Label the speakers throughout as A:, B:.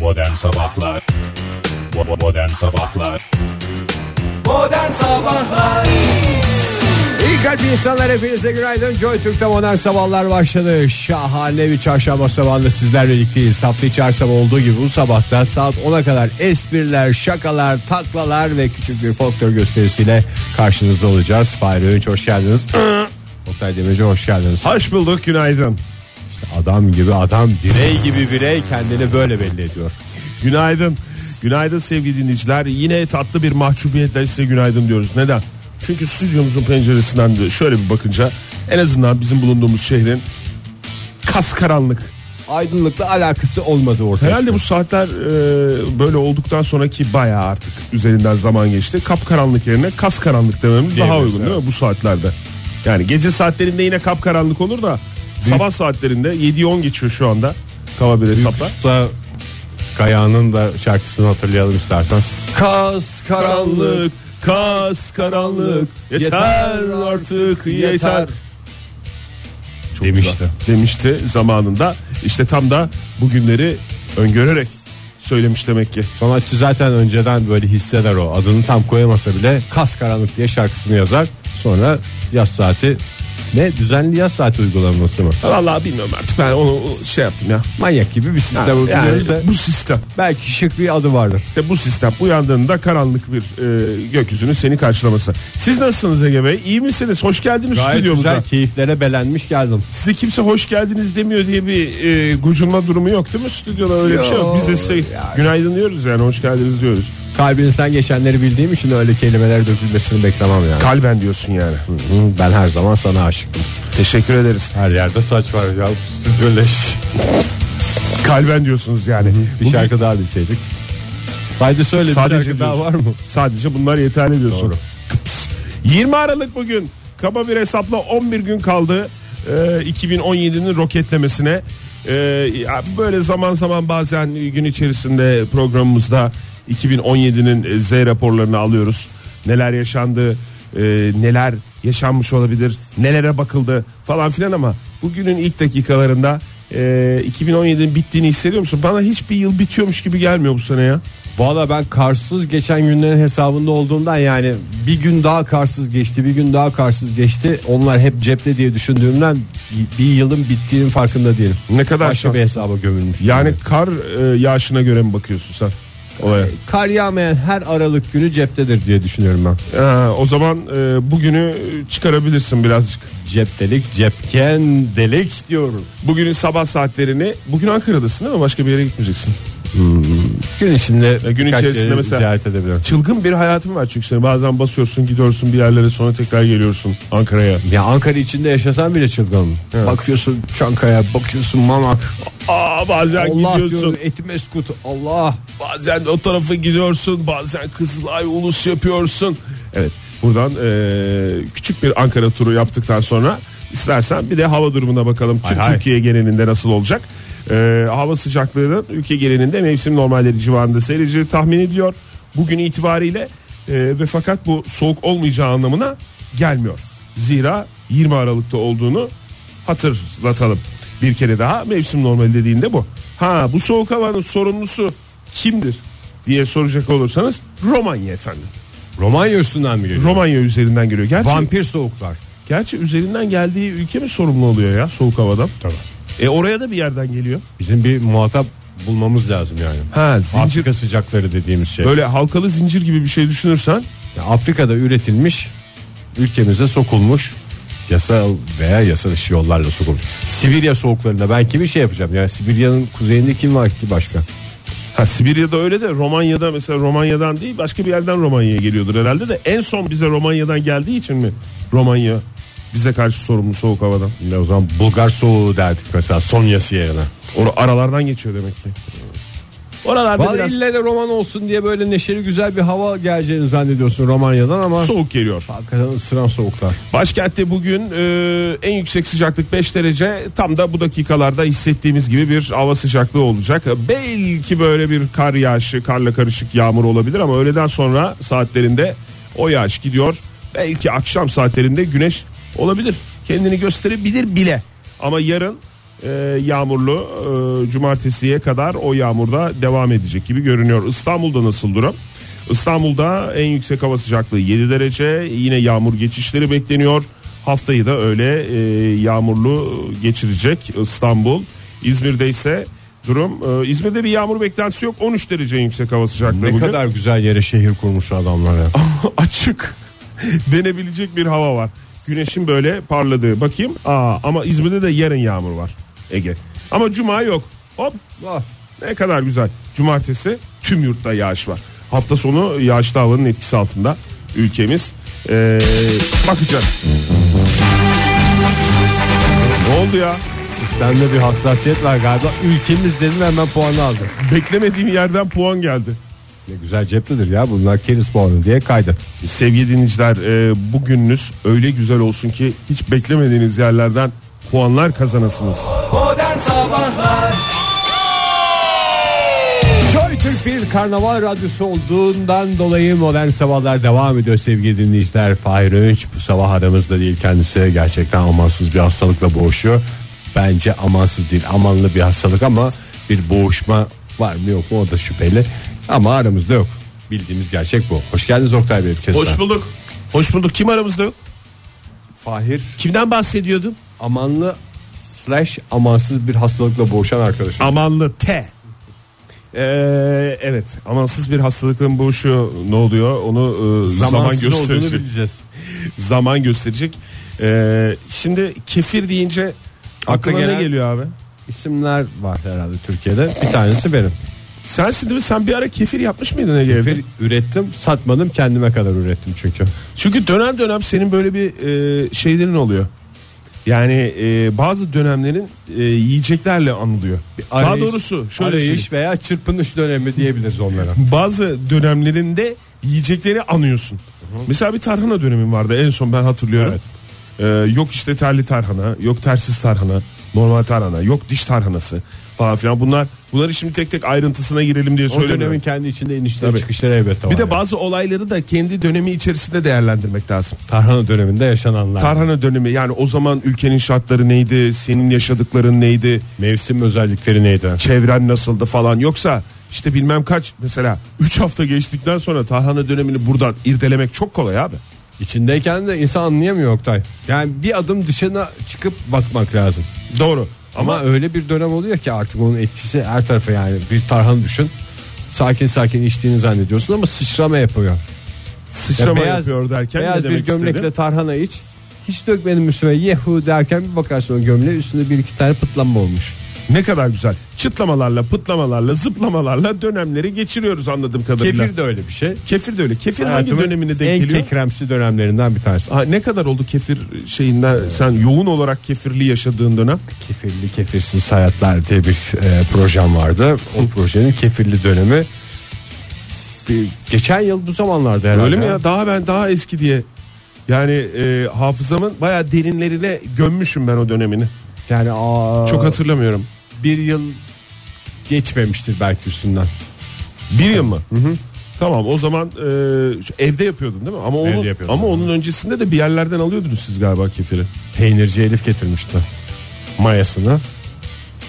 A: Modern Sabahlar Bo- Modern Sabahlar
B: Modern Sabahlar
C: İyi kalp insanlar hepinize günaydın. Joy Türk'te modern sabahlar başladı. Şahane bir çarşamba sabahında sizlerle birlikteyiz. Hafta içi her sabah olduğu gibi bu sabahta saat 10'a kadar espriler, şakalar, taklalar ve küçük bir folklor gösterisiyle karşınızda olacağız. Fahri Öğünç hoş geldiniz. Oktay Demirci hoş geldiniz.
D: Hoş bulduk günaydın.
C: İşte adam gibi adam, birey gibi birey kendini böyle belli ediyor.
D: Günaydın. Günaydın sevgili dinleyiciler. Yine tatlı bir mahcubiyetle size günaydın diyoruz. Neden? Çünkü stüdyomuzun penceresinden de şöyle bir bakınca en azından bizim bulunduğumuz şehrin kas karanlık.
C: Aydınlıkla alakası olmadı ortaya.
D: Herhalde bu
C: çıkıyor.
D: saatler e, böyle olduktan sonraki bayağı artık üzerinden zaman geçti. Kap karanlık yerine kas karanlık dememiz daha
C: Diyebiliriz,
D: uygun değil mi bu saatlerde? Yani gece saatlerinde yine kap karanlık olur da sabah saatlerinde 7'yi 10 geçiyor şu anda. Kaba bir
C: Büyük
D: hesapla.
C: Usta Kaya'nın da şarkısını hatırlayalım istersen. Kas
D: karanlık kas karanlık yeter artık yeter Çok
C: Demişti.
D: güzel. demişti zamanında işte tam da bugünleri öngörerek söylemiş demek ki
C: Sanatçı zaten önceden böyle hisseder o. Adını tam koyamasa bile kas karanlık diye şarkısını yazar. Sonra yaz saati ne düzenli yaz saati uygulaması mı?
D: Vallahi bilmiyorum artık ben onu şey yaptım ya
C: Manyak gibi bir sistem
D: Yani
C: uyguluyoruz da
D: bu sistem
C: belki şık bir adı vardır.
D: işte bu sistem uyandığında karanlık bir e, gökyüzünün seni karşılaması siz nasılsınız Ege Bey iyi misiniz hoş geldiniz
C: Gayet
D: stüdyomuza
C: güzel keyiflere belenmiş geldim.
D: size kimse hoş geldiniz demiyor diye bir e, gocunma durumu yok değil mi stüdyoda öyle bir şey yok biz de size günaydın diyoruz yani hoş geldiniz diyoruz
C: Kalbinizden geçenleri bildiğim için öyle kelimeler dökülmesini beklemem yani.
D: Kalben diyorsun yani.
C: Hı, Ben her zaman sana aşıktım.
D: Teşekkür ederiz.
C: Her yerde saç var ya
D: şey.
C: stüdyoleş.
D: Kalben diyorsunuz yani. şey
C: Bir şarkı daha bilseydik. Haydi söyle bir
D: Sadece
C: şarkı daha var
D: diyorsun.
C: mı?
D: Sadece bunlar yeterli diyorsun.
C: Doğru.
D: Kıps. 20 Aralık bugün. Kaba bir hesapla 11 gün kaldı. Ee, 2017'nin roketlemesine. Ee, ya böyle zaman zaman bazen gün içerisinde programımızda 2017'nin e, Z raporlarını alıyoruz. Neler yaşandı, e, neler yaşanmış olabilir, nelere bakıldı falan filan ama bugünün ilk dakikalarında e, 2017'nin bittiğini hissediyor musun? Bana hiçbir yıl bitiyormuş gibi gelmiyor bu sene ya.
C: Valla ben karsız geçen günlerin hesabında olduğumdan yani bir gün daha karsız geçti bir gün daha karsız geçti. Onlar hep cepte diye düşündüğümden bir yılın bittiğinin farkında değilim.
D: Ne kadar
C: Başka
D: şans-
C: bir hesaba gömülmüş.
D: Yani kar e, yağışına göre mi bakıyorsun sen olaya?
C: kar yağmayan her aralık günü ceptedir diye düşünüyorum ben.
D: Ha, o zaman e, bugünü çıkarabilirsin birazcık.
C: Ceptelik cepken delik diyoruz.
D: Bugünün sabah saatlerini bugün Ankara'dasın değil mi? Başka bir yere gitmeyeceksin.
C: Gün içinde
D: gün
C: birkaç
D: içerisinde
C: yeri
D: mesela-
C: ziyaret edebilirim.
D: Çılgın bir hayatın var çünkü senin. Bazen basıyorsun gidiyorsun bir yerlere sonra tekrar geliyorsun Ankara'ya.
C: Ya Ankara içinde yaşasan bile çılgın. Bakıyorsun Çankaya, bakıyorsun Mamak.
D: Aa bazen
C: Allah
D: gidiyorsun.
C: diyorum Etimeskut. Allah.
D: Bazen o tarafa gidiyorsun. Bazen Kızılay ulus yapıyorsun. Evet. Buradan e, küçük bir Ankara turu yaptıktan sonra istersen bir de hava durumuna bakalım. Tüm
C: hay.
D: Türkiye genelinde nasıl olacak? E, hava sıcaklığının ülke genelinde mevsim normalleri civarında seyirci tahmin ediyor. Bugün itibariyle e, ve fakat bu soğuk olmayacağı anlamına gelmiyor. Zira 20 Aralık'ta olduğunu hatırlatalım. Bir kere daha mevsim normali dediğinde bu. Ha bu soğuk havanın sorumlusu kimdir diye soracak olursanız Romanya efendim.
C: Romanya üstünden mi geliyor?
D: Romanya üzerinden geliyor. Gerçi,
C: Vampir soğuklar.
D: gerçi üzerinden geldiği ülke mi sorumlu oluyor ya soğuk havadan?
C: Tamam.
D: E oraya da bir yerden geliyor.
C: Bizim bir muhatap bulmamız lazım yani.
D: Ha zincir.
C: Afrika sıcakları dediğimiz şey.
D: Böyle halkalı zincir gibi bir şey düşünürsen
C: Ya Afrika'da üretilmiş, ülkemize sokulmuş yasal veya yasa dışı yollarla sokulmuş. Sibirya soğuklarında ben kimi şey yapacağım? Yani Sibirya'nın kuzeyinde kim var ki başka?
D: Ha Sibirya'da öyle de Romanya'da mesela Romanya'dan değil başka bir yerden Romanya'ya geliyordur herhalde de en son bize Romanya'dan geldiği için mi Romanya bize karşı sorumlu soğuk havadan?
C: Ne o zaman Bulgar soğuğu derdik mesela Sonya'sı yerine.
D: Onu aralardan geçiyor demek ki. Oralarda
C: Vallahi
D: biraz
C: ille de roman olsun diye böyle neşeli güzel bir hava geleceğini zannediyorsun Romanya'dan ama
D: soğuk geliyor.
C: hakikaten ısıran soğuklar.
D: Başkentte bugün e, en yüksek sıcaklık 5 derece. Tam da bu dakikalarda hissettiğimiz gibi bir hava sıcaklığı olacak. Belki böyle bir kar yağışı, karla karışık yağmur olabilir ama öğleden sonra saatlerinde o yağış gidiyor. Belki akşam saatlerinde güneş olabilir. Kendini gösterebilir bile. Ama yarın e, yağmurlu e, cumartesiye kadar o yağmurda devam edecek gibi görünüyor. İstanbul'da nasıl durum? İstanbul'da en yüksek hava sıcaklığı 7 derece yine yağmur geçişleri bekleniyor. Haftayı da öyle e, yağmurlu geçirecek İstanbul. İzmir'de ise durum e, İzmir'de bir yağmur beklentisi yok 13 derece yüksek hava sıcaklığı
C: Ne
D: bugün.
C: kadar güzel yere şehir kurmuş adamlar ya.
D: açık denebilecek bir hava var. Güneşin böyle parladığı. Bakayım. Aa ama İzmir'de de yarın yağmur var. Ege. Ama cuma yok. Hop. Ah, Ne kadar güzel. Cumartesi tüm yurtta yağış var. Hafta sonu yağışlı havanın etkisi altında ülkemiz. Ee, bakacağız. Ne oldu ya?
C: Sistemde bir hassasiyet var galiba. Ülkemiz dedim ve hemen puanı aldı.
D: Beklemediğim yerden puan geldi.
C: Ne güzel ceptedir ya bunlar keriz puanı diye kaydet.
D: Sevgili dinleyiciler e, bugününüz öyle güzel olsun ki hiç beklemediğiniz yerlerden puanlar kazanasınız.
B: Modern Sabahlar
C: Joy Türk bir karnaval radyosu olduğundan dolayı modern sabahlar devam ediyor sevgili dinleyiciler. Fahir Öğünç bu sabah aramızda değil kendisi gerçekten amansız bir hastalıkla boğuşuyor. Bence amansız değil amanlı bir hastalık ama bir boğuşma var mı yok mu o da şüpheli. Ama aramızda yok. Bildiğimiz gerçek bu. Hoş geldiniz Oktay Bey bir kez daha.
D: Hoş bulduk. Hoş bulduk. Kim aramızda yok?
C: Fahir
D: Kimden bahsediyordum?
C: amanlı slash amansız bir hastalıkla boğuşan arkadaşım.
D: Amanlı T. Ee, evet amansız bir hastalıkla boğuşuyor ne oluyor onu e, zaman
C: Zamansız olduğunu
D: gösterecek
C: bileceğiz.
D: zaman gösterecek Ee, şimdi kefir deyince aklına
C: gelen-
D: ne geliyor abi
C: İsimler var herhalde Türkiye'de. Bir tanesi benim.
D: sensin değil mi sen bir ara kefir yapmış mıydın Ege evde?
C: Bir ürettim satmadım kendime kadar ürettim çünkü.
D: Çünkü dönem dönem senin böyle bir e, şeylerin oluyor. Yani e, bazı dönemlerin e, yiyeceklerle anılıyor. Daha doğrusu şöyle söyleyeyim.
C: arayış veya çırpınış dönemi diyebiliriz onlara.
D: Bazı dönemlerinde yiyecekleri anıyorsun. Mesela bir tarhana dönemim vardı en son ben hatırlıyorum. E, yok işte terli tarhana, yok tersiz tarhana, normal tarhana, yok diş tarhanası falan filan. Bunlar bunları şimdi tek tek ayrıntısına girelim diye
C: O
D: söylemiyorum.
C: dönemin kendi içinde inişleri
D: Tabii.
C: çıkışları elbette var.
D: Bir de
C: yani.
D: bazı olayları da kendi dönemi içerisinde değerlendirmek lazım.
C: tarhana döneminde yaşananlar.
D: Tarhana dönemi yani o zaman ülkenin şartları neydi? Senin yaşadıkların neydi?
C: Mevsim özellikleri neydi?
D: Çevren nasıldı falan yoksa işte bilmem kaç mesela 3 hafta geçtikten sonra Tarhana dönemini buradan irdelemek çok kolay abi.
C: İçindeyken de insan anlayamıyor Oktay. Yani bir adım dışına çıkıp bakmak lazım.
D: Doğru. Ama,
C: Ama öyle bir dönem oluyor ki artık onun etkisi her tarafa yani bir tarhan düşün. Sakin sakin içtiğini zannediyorsun ama sıçrama yapıyor.
D: sıçrama
C: Ya beyaz-
D: yapıyor derken ne
C: Beyaz bir
D: demek
C: gömlekle
D: istedi?
C: tarhana iç. Hiç dökmedim üstüme yehu derken bir bakarsın o gömleğe üstünde bir iki tane pıtlanma olmuş.
D: Ne kadar güzel. Çıtlamalarla, pıtlamalarla, zıplamalarla dönemleri geçiriyoruz anladığım kadarıyla. Kefir,
C: Kefir de öyle bir şey.
D: de öyle. Kefir
C: Hayatımın
D: hangi dönemine denk
C: en
D: geliyor?
C: kekremsi dönemlerinden bir tanesi.
D: Ha, ne kadar oldu kefir şeyinden sen yoğun olarak kefirli yaşadığın dönem?
C: Kefirli kefirsiz hayatlar diye bir e, projem vardı. O projenin kefirli dönemi bir- geçen yıl bu zamanlarda herhalde.
D: Öyle mi ya? Daha ben daha eski diye. Yani e, hafızamın bayağı derinlerine gömmüşüm ben o dönemini.
C: Yani aa,
D: Çok hatırlamıyorum.
C: bir yıl geçmemiştir belki üstünden.
D: Bir yıl mı? Tamam o zaman e, şu evde yapıyordun değil mi? Ama onun,
C: Evde yapıyordum.
D: ama onun öncesinde de bir yerlerden alıyordunuz siz galiba kefiri.
C: Peynirci Elif getirmişti mayasını.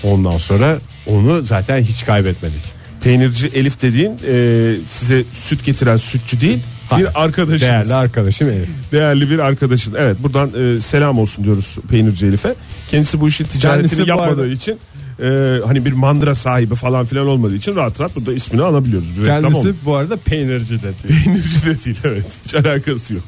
C: Ondan sonra onu zaten hiç kaybetmedik.
D: Peynirci Elif dediğin e, size süt getiren sütçü değil
C: Hayır.
D: bir arkadaşınız.
C: Değerli arkadaşım Elif.
D: Değerli bir arkadaşın. Evet buradan e, selam olsun diyoruz Peynirci Elif'e. Kendisi bu işi ticaretini
C: Kendisi bu
D: yapmadığı
C: arada-
D: için e, hani bir mandıra sahibi falan filan olmadığı için rahat rahat burada ismini alabiliyoruz. Bir reklam olmuyor.
C: bu arada peynirci dedi.
D: Peynirci de değil evet. Hiç alakası yok.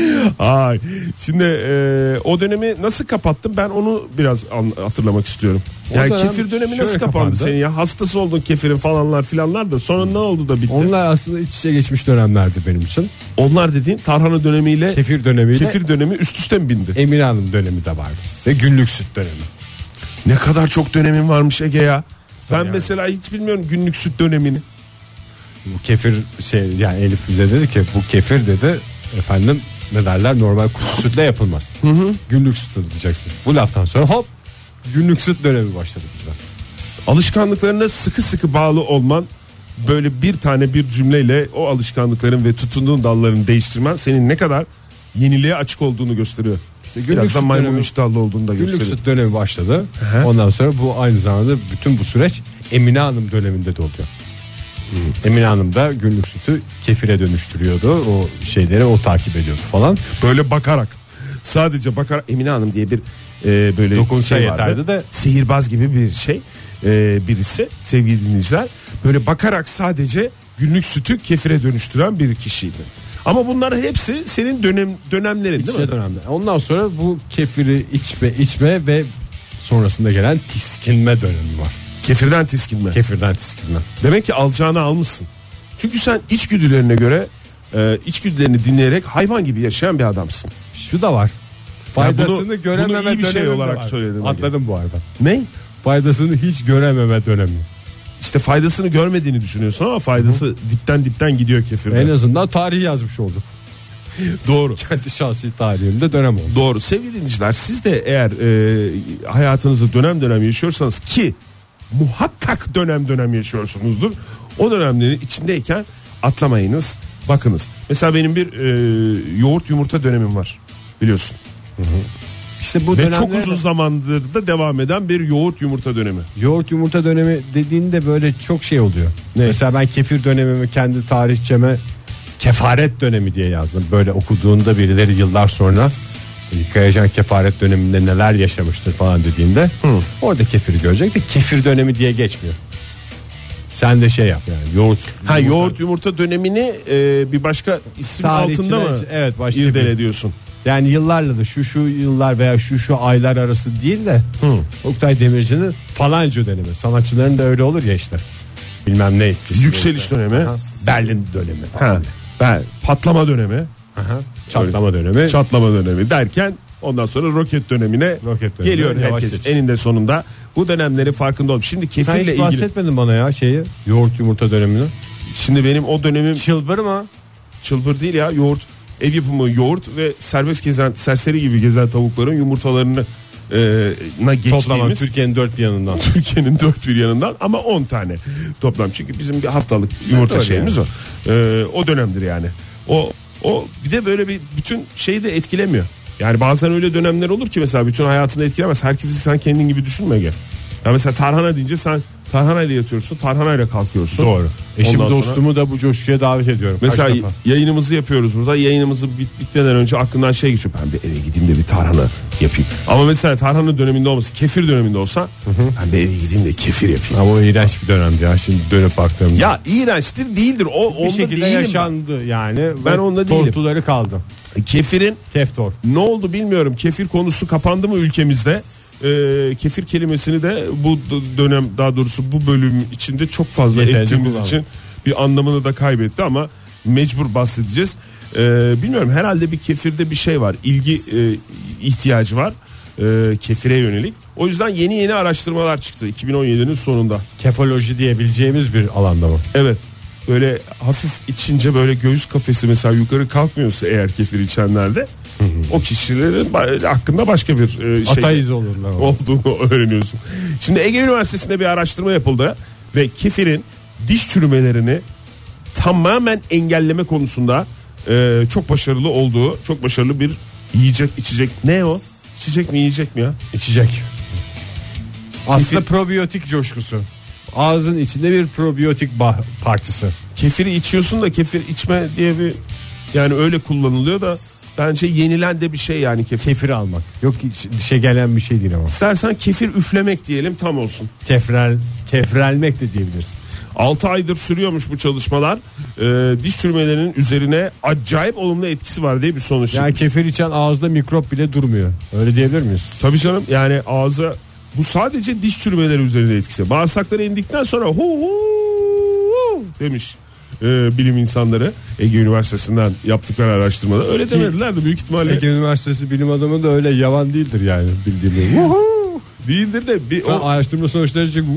D: Ay. Şimdi e, o dönemi nasıl kapattın ben onu biraz an- hatırlamak istiyorum.
C: O
D: Yani
C: dönem
D: kefir dönemi nasıl
C: şöyle
D: kapandı,
C: kapandı.
D: senin ya? Hastası oldun kefirin falanlar filanlar da sonra ne oldu da bitti? Onlar,
C: Onlar aslında iç içe geçmiş dönemlerdi benim için.
D: dediğin tarhana dönemiyle kefir,
C: Kefir dönemiyle
D: dönemi üst üste mi bindi?
C: Emine Hanım dönemi de vardı. Ve günlük süt dönemi.
D: ne kadar çok dönemin varmış Ege ya. Ben
C: Yani.
D: mesela hiç bilmiyorum günlük süt dönemini.
C: Bu kefir şey yani Elif bize dedi ki bu kefir dedi efendim ne derler normal kutu sütle yapılmaz. Günlük süt alacaksın. Bu laftan sonra hop günlük süt dönemi başladı bizde.
D: Alışkanlıklarına sıkı sıkı bağlı olman böyle bir tane bir cümleyle o alışkanlıkların ve tutunduğun dallarını değiştirmen senin ne kadar yeniliğe açık olduğunu gösteriyor.
C: İşte günlük
D: Biraz da
C: süt
D: maymun
C: dönemi-
D: iştahlı olduğunu da
C: Günlük
D: gösteriyor.
C: süt dönemi başladı. Ondan sonra bu aynı zamanda bütün bu süreç Emine Hanım döneminde de oluyor. Hmm. Emine Hanım da günlük sütü kefire dönüştürüyordu. O şeyleri o takip ediyordu falan.
D: Böyle bakarak. Sadece bakarak Emine Hanım diye bir e, böyle
C: Dokunsa
D: şey
C: yeterdi
D: vardı.
C: de.
D: Sihirbaz gibi bir şey e, birisi sevgili dinleyiciler. Böyle bakarak sadece günlük sütü kefire dönüştüren bir kişiydi. Ama bunların hepsi senin dönem dönemlerin değil mi?
C: İçme Şey dönemde. Ondan sonra bu kefiri içme içme ve sonrasında gelen tiskinme dönemi var.
D: Kefirden tiskinme.
C: Kefirden tiskinme.
D: Demek ki alacağını almışsın. Çünkü sen içgüdülerine göre e, içgüdülerini dinleyerek hayvan gibi yaşayan bir adamsın.
C: Şu da var.
D: Yani bunu-
C: Faydasını görememe
D: bunu iyi bir şey
C: dönemi de
D: olarak
C: var.
D: söyledim.
C: Atladım bu arada.
D: Ne?
C: Faydasını hiç görememe dönemi.
D: İşte faydasını görmediğini düşünüyorsun ama faydası dipten dipten gidiyor kefirden.
C: En azından tarihi yazmış oldum.
D: Doğru.
C: Kendi şahsi tarihimde dönem oldu.
D: Doğru. Sevgili dinleyiciler siz de eğer e, hayatınızı dönem dönem yaşıyorsanız ki muhakkak dönem dönem yaşıyorsunuzdur. O dönemlerin içindeyken atlamayınız, bakınız. Mesela benim bir e, yoğurt yumurta dönemim var biliyorsun.
C: İşte bu
D: Ve
C: dönemler-
D: çok uzun zamandır da devam eden bir yoğurt yumurta dönemi.
C: Yoğurt yumurta dönemi dediğinde böyle çok şey oluyor. Mesela ben kefir dönemimi kendi tarihçeme kefaret dönemi diye yazdım. Böyle okuduğunda birileri yıllar sonra Kayacan kefaret döneminde neler yaşamıştır falan dediğinde orada kefiri görecek de kefir dönemi diye geçmiyor. Sen de şey yap yani yoğurt.
D: Ha
C: yumurta-
D: yoğurt yumurta dönemini e, bir başka isim
C: Tarihçine-
D: altında mı?
C: Evet başka bir-
D: İrdele diyorsun.
C: Yani yıllarla da şu şu yıllar veya şu şu aylar arası değil de Oktay Demirci'nin falanca dönemi. Sanatçıların da öyle olur ya işte. Bilmem ne etkisi.
D: Yükseliş dönemi.
C: Ha, Berlin dönemi falan.
D: Ha. Ben patlama dönemi.
C: Aha. Çatlama dönemi.
D: çatlama dönemi derken ondan sonra roket dönemine
C: Roket dönemi,
D: geliyor
C: yavaş
D: herkes
C: geçiş.
D: eninde sonunda. Bu dönemleri farkında ol. Şimdi
C: Sen
D: kefirle
C: hiç
D: ilgili.
C: bahsetmedin bana ya şeyi yoğurt yumurta dönemini.
D: Şimdi benim o dönemim
C: Çılbır mı?
D: çılbır değil ya yoğurt. Ev yapımı yoğurt ve serbest gezen serseri gibi gezen tavukların yumurtalarını e, na
C: Toplamak
D: geçtiğimiz
C: Türkiye'nin dört bir yanından.
D: Türkiye'nin dört bir yanından ama 10 tane toplam. Çünkü bizim bir haftalık yumurta
C: Doğru
D: şeyimiz o. Ee, o dönemdir yani. O o bir de böyle bir bütün şeyi de etkilemiyor. Yani bazen öyle dönemler olur ki mesela bütün hayatını etkilemez. Herkesi sen kendin gibi düşünme Ege. Ya mesela tarhana deyince sen tarhana ile yatıyorsun, tarhana ile kalkıyorsun.
C: Doğru. Eşim
D: Ondan sonra-
C: dostumu da bu coşkuya davet ediyorum. Kaç
D: Mesela
C: defa?
D: yayınımızı yapıyoruz burada. Yayınımızı bit- bitmeden önce aklından şey geçiyor. Ben bir eve gideyim de bir tarhana yapayım. Ama mesela tarhana döneminde olması, kefir döneminde olsa ben bir eve gideyim de kefir yapayım.
C: Ama o iğrenç bir dönemdi ya şimdi dönüp baktığımda.
D: Ya iğrençtir değildir. O
C: bir
D: onda
C: şekilde
D: değilim
C: yaşandı yani.
D: Ben onda değilim.
C: Tortuları kaldı.
D: ben. Kefirin
C: Keftor.
D: ne oldu bilmiyorum. Kefir konusu kapandı mı ülkemizde? Ee, kefir kelimesini de bu d- dönem daha doğrusu bu bölüm içinde çok fazla
C: Yeterince
D: ettiğimiz
C: kullanmadık.
D: için bir anlamını da kaybetti ama mecbur bahsedeceğiz. Ee, bilmiyorum herhalde bir kefirde bir şey var. İlgi e, ihtiyacı var e, kefire yönelik. O yüzden yeni yeni araştırmalar çıktı 2017'nin sonunda.
C: Kefoloji diyebileceğimiz bir alanda mı?
D: Evet. Böyle hafif içince böyle göğüs kafesi mesela yukarı kalkmıyorsa eğer kefir içenlerde o kişilerin ba- hakkında başka bir e, şey
C: Ataiz olurlar. o.
D: olduğunu öğreniyorsun. Şimdi Ege Üniversitesi'nde bir araştırma yapıldı ve kefirin diş çürümelerini tamamen engelleme konusunda e, çok başarılı olduğu, çok başarılı bir yiyecek içecek. Ne o? İçecek mi yiyecek mi ya?
C: İçecek. Aslında
D: Kefir-
C: probiyotik coşkusu. Ağzın içinde bir probiyotik bah- partisi.
D: kefiri içiyorsun da kefir içme diye bir yani öyle kullanılıyor da bence yenilen de bir şey yani kefir.
C: Kefir almak. Yok hiç dişe gelen bir şey değil ama.
D: İstersen kefir üflemek diyelim tam olsun.
C: Kefrel, kefrelmek de diyebiliriz.
D: 6 aydır sürüyormuş bu çalışmalar. Ee, diş çürümelerinin üzerine acayip olumlu etkisi var diye bir sonuç.
C: Yani
D: çıkmış.
C: kefir içen ağızda mikrop bile durmuyor. Öyle diyebilir miyiz?
D: Tabii canım yani ağza bu sadece diş çürümeleri üzerinde etkisi. Bağırsakları indikten sonra hu hu hu demiş e, bilim insanları Ege Üniversitesi'nden yaptıkları araştırmada. Öyle demediler de büyük ihtimalle
C: Ege Üniversitesi bilim adamı da öyle yavan değildir yani bildiğim
D: değildir de bir o-
C: O araştırma sonuçları çıktı.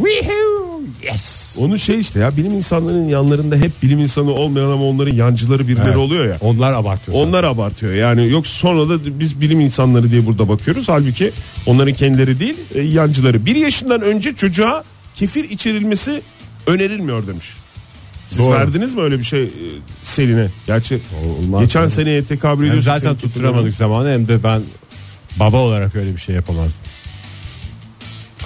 D: Onun şey işte ya bilim insanlarının yanlarında hep bilim insanı olmayan ama onların yancıları birileri
C: Evet.
D: oluyor ya.
C: Onlar abartıyor.
D: Onlar abartıyor yani yok sonra da biz bilim insanları diye burada bakıyoruz. Halbuki onların kendileri değil e, yancıları. Bir yaşından önce çocuğa kefir içirilmesi önerilmiyor demiş. Siz
C: Doğru.
D: verdiniz mi öyle bir şey e, Selin'e? Gerçi
C: Olmaz.
D: geçen seneye tekabül
C: Hem
D: ediyorsun.
C: zaten
D: senin
C: tutturamadık zamanı hem de ben Baba olarak öyle bir şey yapamazdım.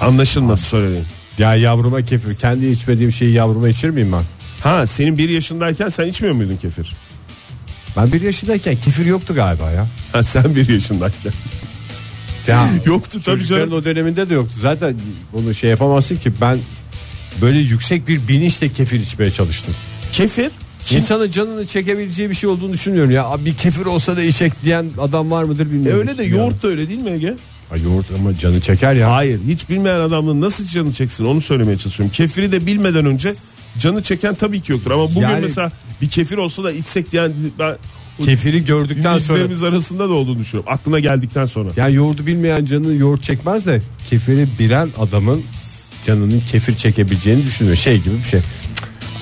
D: Anlaşılmadı söylediğin.
C: Ya yavruma kefir. Kendi içmediğim şeyi yavruma içir miyim ben?
D: Ha senin bir yaşındayken sen içmiyor muydun kefir?
C: Ben bir yaşındayken kefir yoktu galiba ya.
D: Ha sen bir yaşındayken.
C: Ya
D: Yoktu tabii
C: çocukların
D: canım.
C: o döneminde de yoktu. Zaten bunu şey yapamazsın ki ben böyle yüksek bir bilinçle kefir içmeye çalıştım.
D: Kefir
C: İnsanın canını çekebileceği bir şey olduğunu düşünmüyorum ya. Abi Bir kefir olsa da içecek diyen adam var mıdır
D: E
C: bilmiyorum.
D: öyle de
C: Yani.
D: yoğurt da öyle değil mi Ege?
C: Ha, yoğurt ama canı çeker ya.
D: Hayır hiç bilmeyen adamın nasıl canı çeksin onu söylemeye çalışıyorum. Kefiri de bilmeden önce canı çeken tabii ki yoktur. Ama bugün
C: Yani-
D: mesela bir kefir olsa da içsek diyen ben o
C: Kefiri gördükten sonra
D: dinleyicilerimiz arasında da olduğunu düşünüyorum. Aklına geldikten sonra.
C: yani yoğurdu bilmeyen canı yoğurt çekmez de kefiri bilen adamın canının kefir çekebileceğini düşünüyor. Şey gibi bir şey.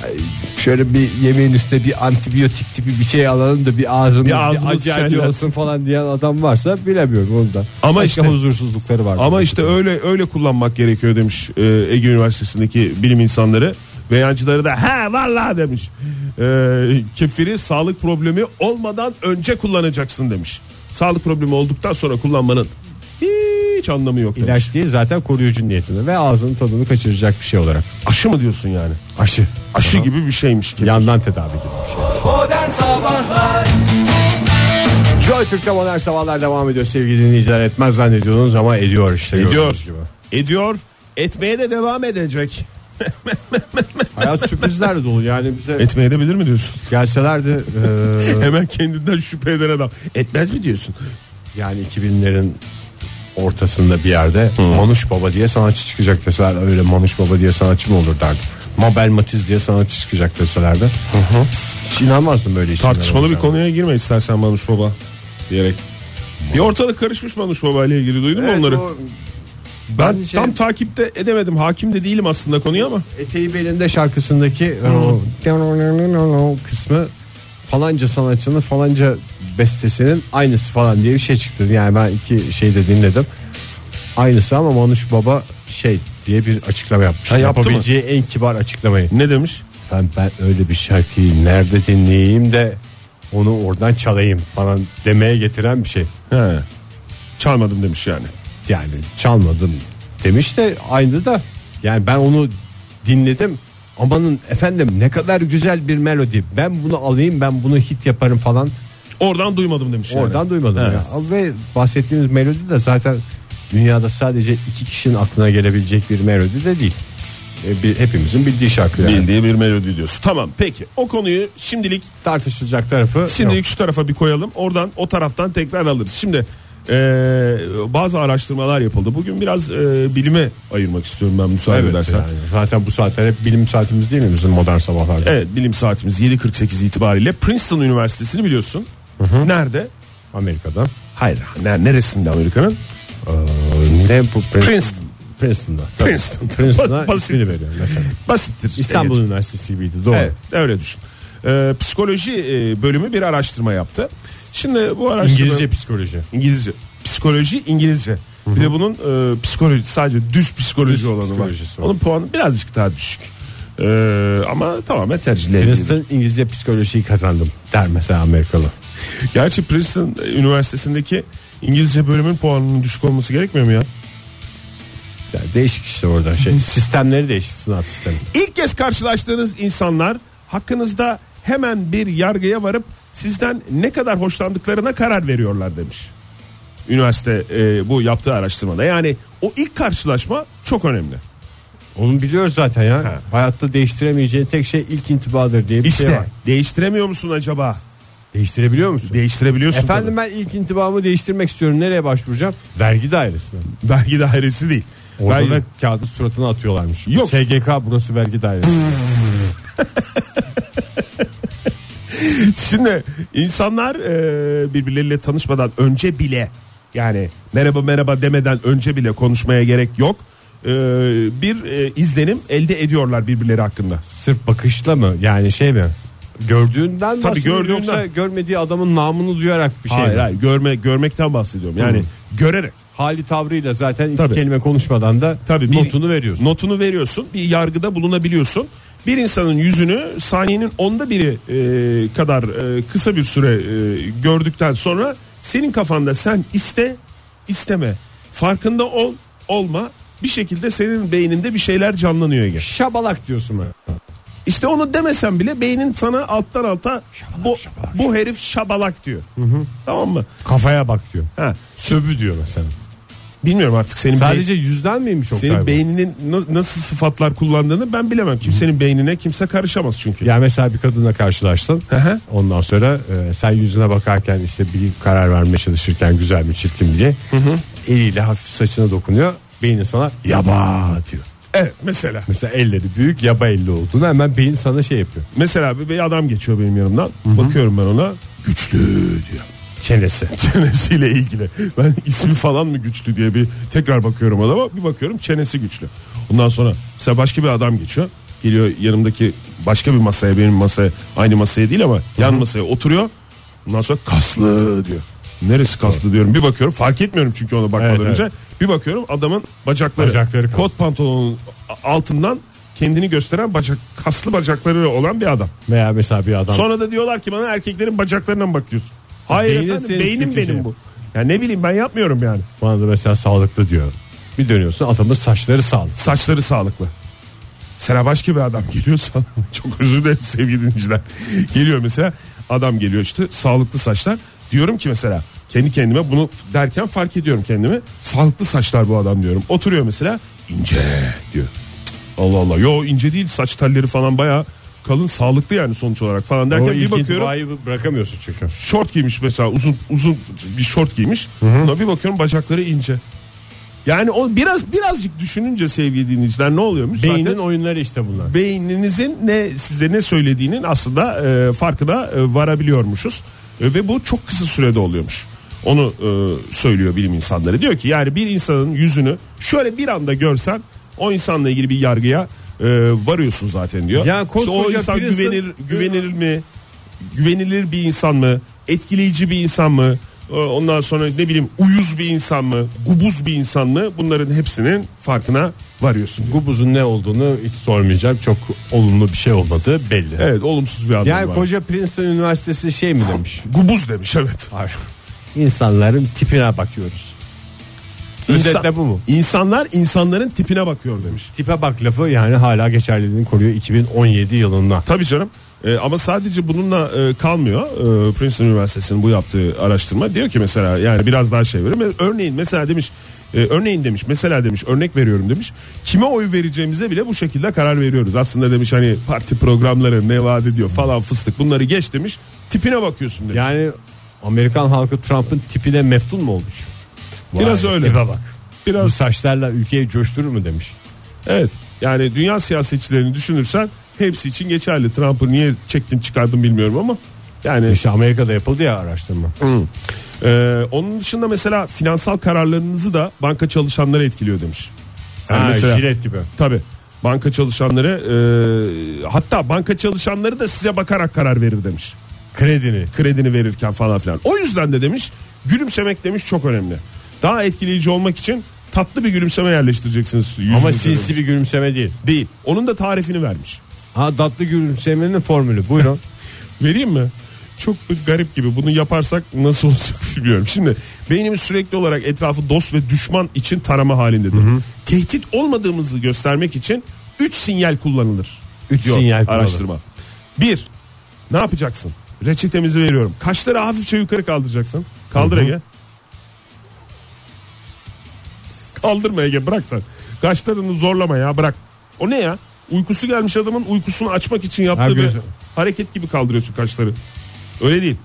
C: Ay, Şöyle bir yemeğin üstüne bir antibiyotik tipi bir şey alalım da bir ağzımız,
D: Bir
C: bir,
D: ağzımız
C: acı acı
D: şenlensin.
C: olsun falan diyen adam varsa bilemiyorum ondan.
D: Ama
C: Başka
D: işte-
C: huzursuzlukları var.
D: Ama işte öyle öyle kullanmak gerekiyor demiş e, Ege Üniversitesi'ndeki bilim insanları. Ve yancıları da he vallahi demiş. E, kefiri sağlık problemi olmadan önce kullanacaksın demiş. Sağlık problemi olduktan sonra kullanmanın hiç anlamı yok demiş.
C: ilaç değil zaten koruyucu niyetinde ve ağzının tadını kaçıracak bir şey olarak.
D: Aşı mı diyorsun yani?
C: Aşı.
D: Aşı gibi bir şeymiş kefir.
C: Yandan tedavi gibi bir şey.
B: Modern Sabahlar
C: Joy Türk'te modern sabahlar devam ediyor sevgili dinleyiciler. Etmez zannediyordunuz ama ediyor işte.
D: Ediyor.
C: gördüğünüz gibi.
D: Ediyor. Etmeye de devam edecek.
C: Hayat sürprizlerle dolu yani bize
D: Etmeye de bilir mi diyorsun?
C: gelselerdi eee,
D: Hemen kendinden şüphe eden adam. Etmez mi diyorsun?
C: yani 2000'lerin ortasında bir yerde Manuş Baba diye sanatçı çıkacak deseler öyle Manuş Baba diye sanatçı mı olur derdim. Mabel Matiz diye sanatçı çıkacak deselerdi. Hiç inanmazdım böyle işlere.
D: Tartışmalı bir
C: olacağını.
D: konuya girme istersen Manuş Baba diyerek. Bir ortalık karışmış Manuş Baba ile ilgili duydun mu
C: Evet,
D: onları?
C: o şey.
D: ben
C: bence-
D: tam takipte edemedim. Hakim de değilim aslında konuya ama.
C: Eteği belinde şarkısındaki o kısmı falanca sanatçının falanca bestesinin aynısı falan diye bir şey çıktı. Yani ben iki şeyi de dinledim. Aynısı ama Manuş Baba şey diye bir açıklama yapmış.
D: Ha, yaptı mı?
C: Yapabileceği en kibar açıklamayı.
D: Ne demiş?
C: Efendim ben öyle bir şarkıyı nerede dinleyeyim de onu oradan çalayım falan demeye getiren bir şey.
D: He. Çalmadım demiş yani.
C: Yani çalmadım demiş de aynı da yani ben onu dinledim amanın efendim ne kadar güzel bir melodi ben bunu alayım ben bunu hit yaparım falan
D: Oradan duymadım demiş. yani.
C: oradan duymadım
D: He.
C: ya. ve bahsettiğimiz melodi de zaten dünyada sadece iki kişinin aklına gelebilecek bir melodi de değil E, bir, hepimizin bildiği şarkı yani.
D: Bildiği bir melodi diyorsun. Tamam peki. O konuyu şimdilik
C: tartışılacak tarafı
D: Şimdi
C: yok.
D: şu tarafa bir koyalım. Oradan o taraftan tekrar alırız. Şimdi eee, bazı araştırmalar yapıldı. Bugün biraz eee, bilime ayırmak istiyorum ben müsaade
C: Evet
D: edersen.
C: yani. zaten bu saatler hep bilim saatimiz değil mi bizim modern sabahlarda
D: Evet bilim saatimiz 7.48 itibariyle Princeton Üniversitesi'ni biliyorsun. Nerede?
C: Amerika'da
D: Hayır ne- neresinde Amerika'nın?
C: Ee, ne bu
D: Princeton.
C: Princeton'da.
D: Princeton.
C: Princeton'a
D: Basit.
C: ismini veriyor mesela.
D: Basittir.
C: İstanbul
D: Evet.
C: Üniversitesi gibiydi doğru.
D: Evet, öyle düşün. Eee, psikoloji eee, bölümü bir araştırma yaptı. Şimdi bu araştırma...
C: İngilizce psikoloji.
D: İngilizce. Psikoloji İngilizce. Bir de bunun e, psikoloji sadece düz psikoloji
C: Düz
D: olanı
C: psikolojisi
D: var.
C: var.
D: Onun puanı birazcık daha düşük. E, ama tamamen tercihleri.
C: Princeton İngilizce psikolojiyi kazandım der mesela Amerikalı.
D: Gerçi Princeton e, Üniversitesi'ndeki İngilizce bölümün puanının düşük olması gerekmiyor mu ya?
C: Yani değişik işte orada şey. Sistemleri değişik sınav sistemi.
D: İlk kez karşılaştığınız insanlar hakkınızda hemen bir yargıya varıp sizden ne kadar hoşlandıklarına karar veriyorlar demiş. Üniversite e, bu yaptığı araştırmada. Yani o ilk karşılaşma çok önemli.
C: Onu biliyoruz zaten ya.
D: Ha.
C: Hayatta değiştiremeyeceğin tek şey ilk intibadır diye bir
D: İşte
C: şey var.
D: değiştiremiyor musun acaba?
C: Değiştirebiliyor musun?
D: Değiştirebiliyorsun.
C: Efendim ben ilk intibamı değiştirmek istiyorum. Nereye başvuracağım? Vergi dairesine.
D: tabii. vergi dairesi değil.
C: Orada
D: Vergi-
C: da kağıdı suratına atıyorlarmış.
D: Yok.
C: SGK burası vergi dairesi.
D: Şimdi insanlar e, birbirleriyle tanışmadan önce bile yani merhaba merhaba demeden önce bile konuşmaya gerek yok. E, bir e, izlenim elde ediyorlar birbirleri hakkında.
C: Sırf bakışla mı yani şey mi? Gördüğünden Tabii
D: gördüğünden.
C: yoksa görmediği adamın namını duyarak bir şey.
D: hayır
C: mi?
D: hayır görme görmekten bahsediyorum. Yani görerek
C: Hali tavrıyla zaten iki
D: Tabii.
C: kelime konuşmadan da
D: Tabii bir-
C: notunu veriyorsun.
D: Notunu veriyorsun. Bir yargıda bulunabiliyorsun. Bir insanın yüzünü saniyenin onda biri e, kadar e, kısa bir süre e, gördükten sonra senin kafanda sen iste isteme. Farkında ol, olma. Bir şekilde senin beyninde bir şeyler canlanıyor Ege.
C: Şabalak diyorsun bana.
D: İşte onu demesen bile beynin sana alttan alta bu,
C: şabalak.
D: bu herif şabalak diyor. Tamam mı?
C: Kafaya bak diyor.
D: Ha,
C: Söbü diyor mesela.
D: bilmiyorum artık senin beyn-
C: Sadece yüzden miymiş o
D: senin
C: kaybı?
D: beyninin na- nasıl sıfatlar kullandığını ben bilemem. Kimsenin beynine kimse karışamaz çünkü.
C: Ya mesela bir kadınla karşılaştın.
D: hı.
C: Ondan sonra e, sen yüzüne bakarken işte bir karar vermeye çalışırken güzel mi çirkin mi diye eliyle hafif saçına dokunuyor. Beynin sana yaba diyor.
D: Evet mesela.
C: Mesela elleri büyük yaba elli olduğunu hemen beyin sana şey yapıyor.
D: Mesela bir, bir adam geçiyor benim yanımdan. Bakıyorum ben ona. Güçlü diyor.
C: Çenesi.
D: Çenesiyle ilgili. Ben ismi falan mı güçlü diye bir tekrar bakıyorum adama. Bir bakıyorum çenesi güçlü. Ondan sonra mesela başka bir adam geçiyor. Geliyor yanımdaki başka bir masaya benim masaya aynı masaya değil ama yan masaya oturuyor. Ondan sonra kaslı diyor. Neresi kaslı diyorum bir bakıyorum fark etmiyorum çünkü ona bakmadan
C: Evet,
D: önce. Bir bakıyorum adamın bacakları,
C: Bacakları kaslı.
D: kot pantolonun altından kendini gösteren bacak kaslı bacakları olan bir adam.
C: Veya mesela bir adam.
D: Sonra da diyorlar ki bana erkeklerin bacaklarına mı bakıyorsun? Hayır
C: Beynin
D: efendim
C: senin
D: beynim
C: çünkü
D: benim
C: şey.
D: bu. Ya ne bileyim ben yapmıyorum yani.
C: Bana da mesela sağlıklı diyor. Bir dönüyorsun adamın saçları sağlıklı.
D: Saçları sağlıklı. Sana başka bir adam geliyorsa çok özür dilerim sevgili dinleyiciler. Geliyor mesela adam geliyor işte sağlıklı saçlar. Diyorum ki mesela kendi kendime bunu derken fark ediyorum kendimi. Sağlıklı saçlar bu adam diyorum. Oturuyor mesela ince diyor. Cık, Allah Allah yo ince değil saç telleri falan baya kalın sağlıklı yani sonuç olarak falan derken
C: O
D: bir
C: ilk
D: bakıyorum
C: intibayı bırakamıyorsun çünkü.
D: şort giymiş mesela uzun uzun bir şort giymiş. Buna bir bakıyorum bacakları ince. Yani o biraz birazcık düşününce sevgili dinleyiciler ne oluyormuş?
C: Beynin
D: Zaten
C: oyunları işte bunlar.
D: beyninizin ne size ne söylediğinin aslında e, farkına e, varabiliyormuşuz. E, ve bu çok kısa sürede oluyormuş. Onu e, söylüyor bilim insanları. Diyor ki yani bir insanın yüzünü şöyle bir anda görsen o insanla ilgili bir yargıya e, varıyorsun zaten diyor.
C: Ya
D: o
C: koskoca
D: insan
C: birisi-
D: güvenir güvenilir mi? Güvenilir bir insan mı? Etkileyici bir insan mı? E, Ondan sonra ne bileyim uyuz bir insan mı? Gubuz bir insan mı? Bunların hepsinin farkına varıyorsun. diyor.
C: Gubuzun ne olduğunu hiç sormayacağım. Çok olumlu bir şey olmadığı belli.
D: Evet olumsuz bir adam
C: Yani
D: var.
C: koca Princeton Üniversitesi şey mi demiş?
D: Gubuz demiş evet.
C: Hayır. İnsanların tipine bakıyoruz.
D: İnsan-
C: Özetle bu mu?
D: İnsanlar insanların tipine bakıyor demiş.
C: Tipe bak lafı yani hala geçerliliğini koruyor 2017 yılında.
D: Tabii canım. Ee, ama sadece bununla e, kalmıyor. Ee, Princeton Üniversitesi'nin bu yaptığı araştırma diyor ki mesela yani biraz daha şey veriyor. Örneğin mesela demiş e, örneğin demiş mesela demiş örnek veriyorum demiş. Kime oy vereceğimize bile bu şekilde karar veriyoruz. Aslında demiş hani parti programları ne vaat ediyor falan fıstık bunları geç demiş. Tipine bakıyorsun demiş.
C: Yani Amerikan halkı Trump'ın tipine meftun mu olmuş? Vay,
D: Biraz öyle.
C: Tipe bak. Bu
D: Biraz
C: saçlarla ülkeyi coşturur mu demiş.
D: Evet. Yani dünya siyasetçilerini düşünürsen hepsi için geçerli. Trump'ı niye çektin çıkardın bilmiyorum ama yani
C: İşte Amerika'da yapıldı ya araştırma.
D: e, onun dışında mesela finansal kararlarınızı da banka çalışanları etkiliyor demiş. Yani
C: Ha,
D: mesela
C: jilet gibi.
D: tabi banka çalışanları e, hatta banka çalışanları da size bakarak karar verir demiş.
C: Kredini.
D: Kredini verirken falan filan. O yüzden de demiş gülümsemek demiş çok önemli. Daha etkileyici olmak için tatlı bir gülümseme yerleştireceksiniz.
C: Ama
D: yüzünüze
C: sinsi bir gülümseme değil.
D: demiş. değil. Onun da tarifini vermiş.
C: Ha tatlı gülümsemenin formülü buyurun.
D: Vereyim mi? Çok bir garip gibi. Bunu yaparsak nasıl olacak bilmiyorum. Şimdi beynimiz sürekli olarak etrafı dost ve düşman için tarama halindedir. Tehdit olmadığımızı göstermek için 3 sinyal kullanılır.
C: Üç
D: diyor
C: sinyal kullanılır.
D: araştırma. 1. Ne yapacaksın? Reçetemizi veriyorum. Kaşları hafifçe yukarı kaldıracaksın. Kaldır
C: Hı hı.
D: Ege. Kaldırma Ege bırak sen. Kaşlarını zorlama ya bırak. O ne ya? Uykusu gelmiş adamın uykusunu açmak için
C: Ha,
D: yaptığı bir
C: gözü-
D: hareket gibi kaldırıyorsun kaşları. Öyle değil.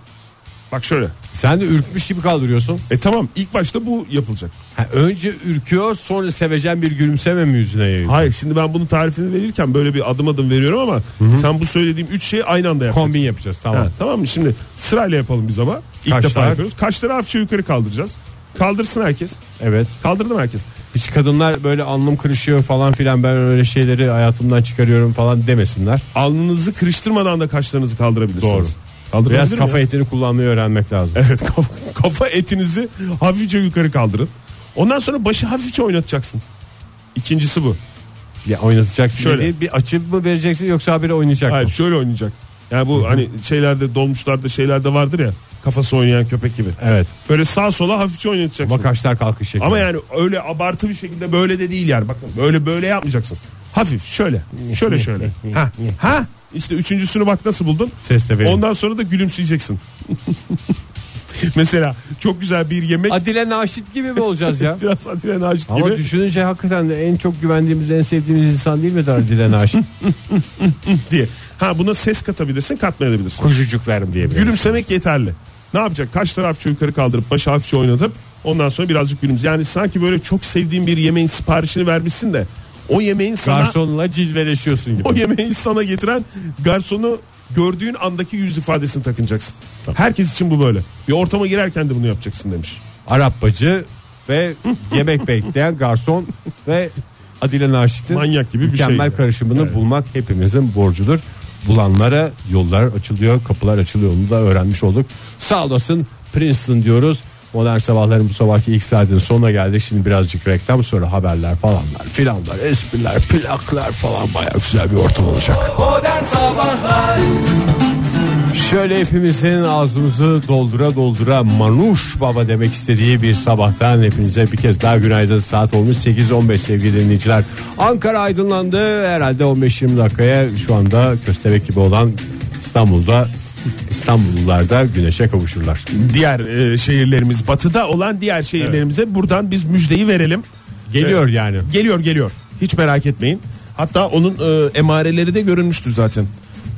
D: Bak şöyle.
C: Sen de ürkmüş gibi kaldırıyorsun.
D: E tamam ilk başta bu yapılacak.
C: Ha, önce ürküyor sonra sevecen bir gülümseme mi yüzüne yayıyor?
D: Hayır şimdi ben bunun tarifini verirken böyle bir adım adım veriyorum ama sen bu söylediğim üç şeyi aynı anda yapacaksın.
C: Kombin yapacağız
D: Ha,
C: tamam.
D: tamam mı? Şimdi sırayla yapalım biz ama. İlk
C: Kaşlar.
D: defa yapıyoruz. Kaşları hafifçe yukarı kaldıracağız. Kaldırsın herkes.
C: Evet.
D: Kaldırdım herkes.
C: Hiç kadınlar böyle alnım kırışıyor falan filan ben öyle şeyleri hayatımdan çıkarıyorum falan demesinler.
D: Alnınızı kırıştırmadan da kaşlarınızı kaldırabilirsiniz.
C: Doğru.
D: Kaldırabilir
C: Biraz
D: miyim
C: kafa
D: ya?
C: etini kullanmayı öğrenmek lazım.
D: Evet kafa, kafa etinizi hafifçe yukarı kaldırın. Ondan sonra başı hafifçe oynatacaksın. İkincisi bu.
C: Ya oynatacaksın
D: Şöyle.
C: dediği bir açı mı vereceksin yoksa habire oynayacak
D: Hayır
C: mı?
D: şöyle oynayacak. Yani bu hani şeylerde dolmuşlarda şeylerde vardır ya. Kafası oynayan köpek gibi.
C: Evet.
D: Böyle sağa sola hafifçe oynatacaksın.
C: Makaçlar kalkış şeklinde.
D: Ama yani öyle abartı bir şekilde böyle de değil yani. Bakın böyle böyle yapmayacaksınız. Hafif şöyle. Şöyle şöyle. ha. Ha. İşte üçüncüsünü bak nasıl buldun?
C: Ses de verin.
D: Ondan sonra da gülümseyeceksin. Mesela çok güzel bir yemek.
C: Adile Naşit gibi mi olacağız ya?
D: Biraz Atilla Naşit
C: Ama
D: gibi.
C: düşününce hakikaten de en çok güvendiğimiz, en sevdiğimiz insan değil mi Adile Naşit?
D: diye. Ha buna ses katabilirsin, katmayabilirsin.
C: Kuzucuklarım diye.
D: Gülümsemek yeterli. Ne yapacak? Kaç tarafçı yukarı kaldırıp başı hafifçe oynatıp ondan sonra birazcık gülümse. Yani sanki böyle çok sevdiğin bir yemeğin siparişini vermişsin de o yemeğin sana
C: Garsonla cilveleşiyorsun
D: o
C: gibi.
D: yemeği sana getiren garsonu gördüğün andaki yüz ifadesini takınacaksın. Herkes için bu böyle. Bir ortama girerken de bunu yapacaksın demiş.
C: Arap bacı ve yemek bekleyen garson ve Adile Naşit'in
D: Manyak gibi bir şey.
C: mükemmel karışımını bulmak hepimizin borcudur. Bulanlara yollar açılıyor, kapılar açılıyor. Onu da öğrenmiş olduk. Sağ olasın Princeton diyoruz. Modern sabahların bu sabahki ilk saatin sonuna geldik. Şimdi birazcık reklam sonra haberler falanlar filanlar espriler plaklar falan baya güzel bir ortam olacak.
B: Modern Sabahlar
C: Şöyle hepimizin ağzımızı doldura doldura Manuş Baba demek istediği bir sabahtan hepinize bir kez daha günaydın. Saat olmuş 8.15 sevgili dinleyiciler. Ankara aydınlandı herhalde 15-20 dakikaya şu anda köstebek gibi olan İstanbul'da İstanbullular da güneşe kavuşurlar.
D: Diğer e, şehirlerimiz batıda olan diğer şehirlerimize buradan biz müjdeyi verelim.
C: Geliyor
D: Evet.
C: yani.
D: Geliyor geliyor. Hiç merak etmeyin. Hatta onun e, emareleri de görünmüştür zaten.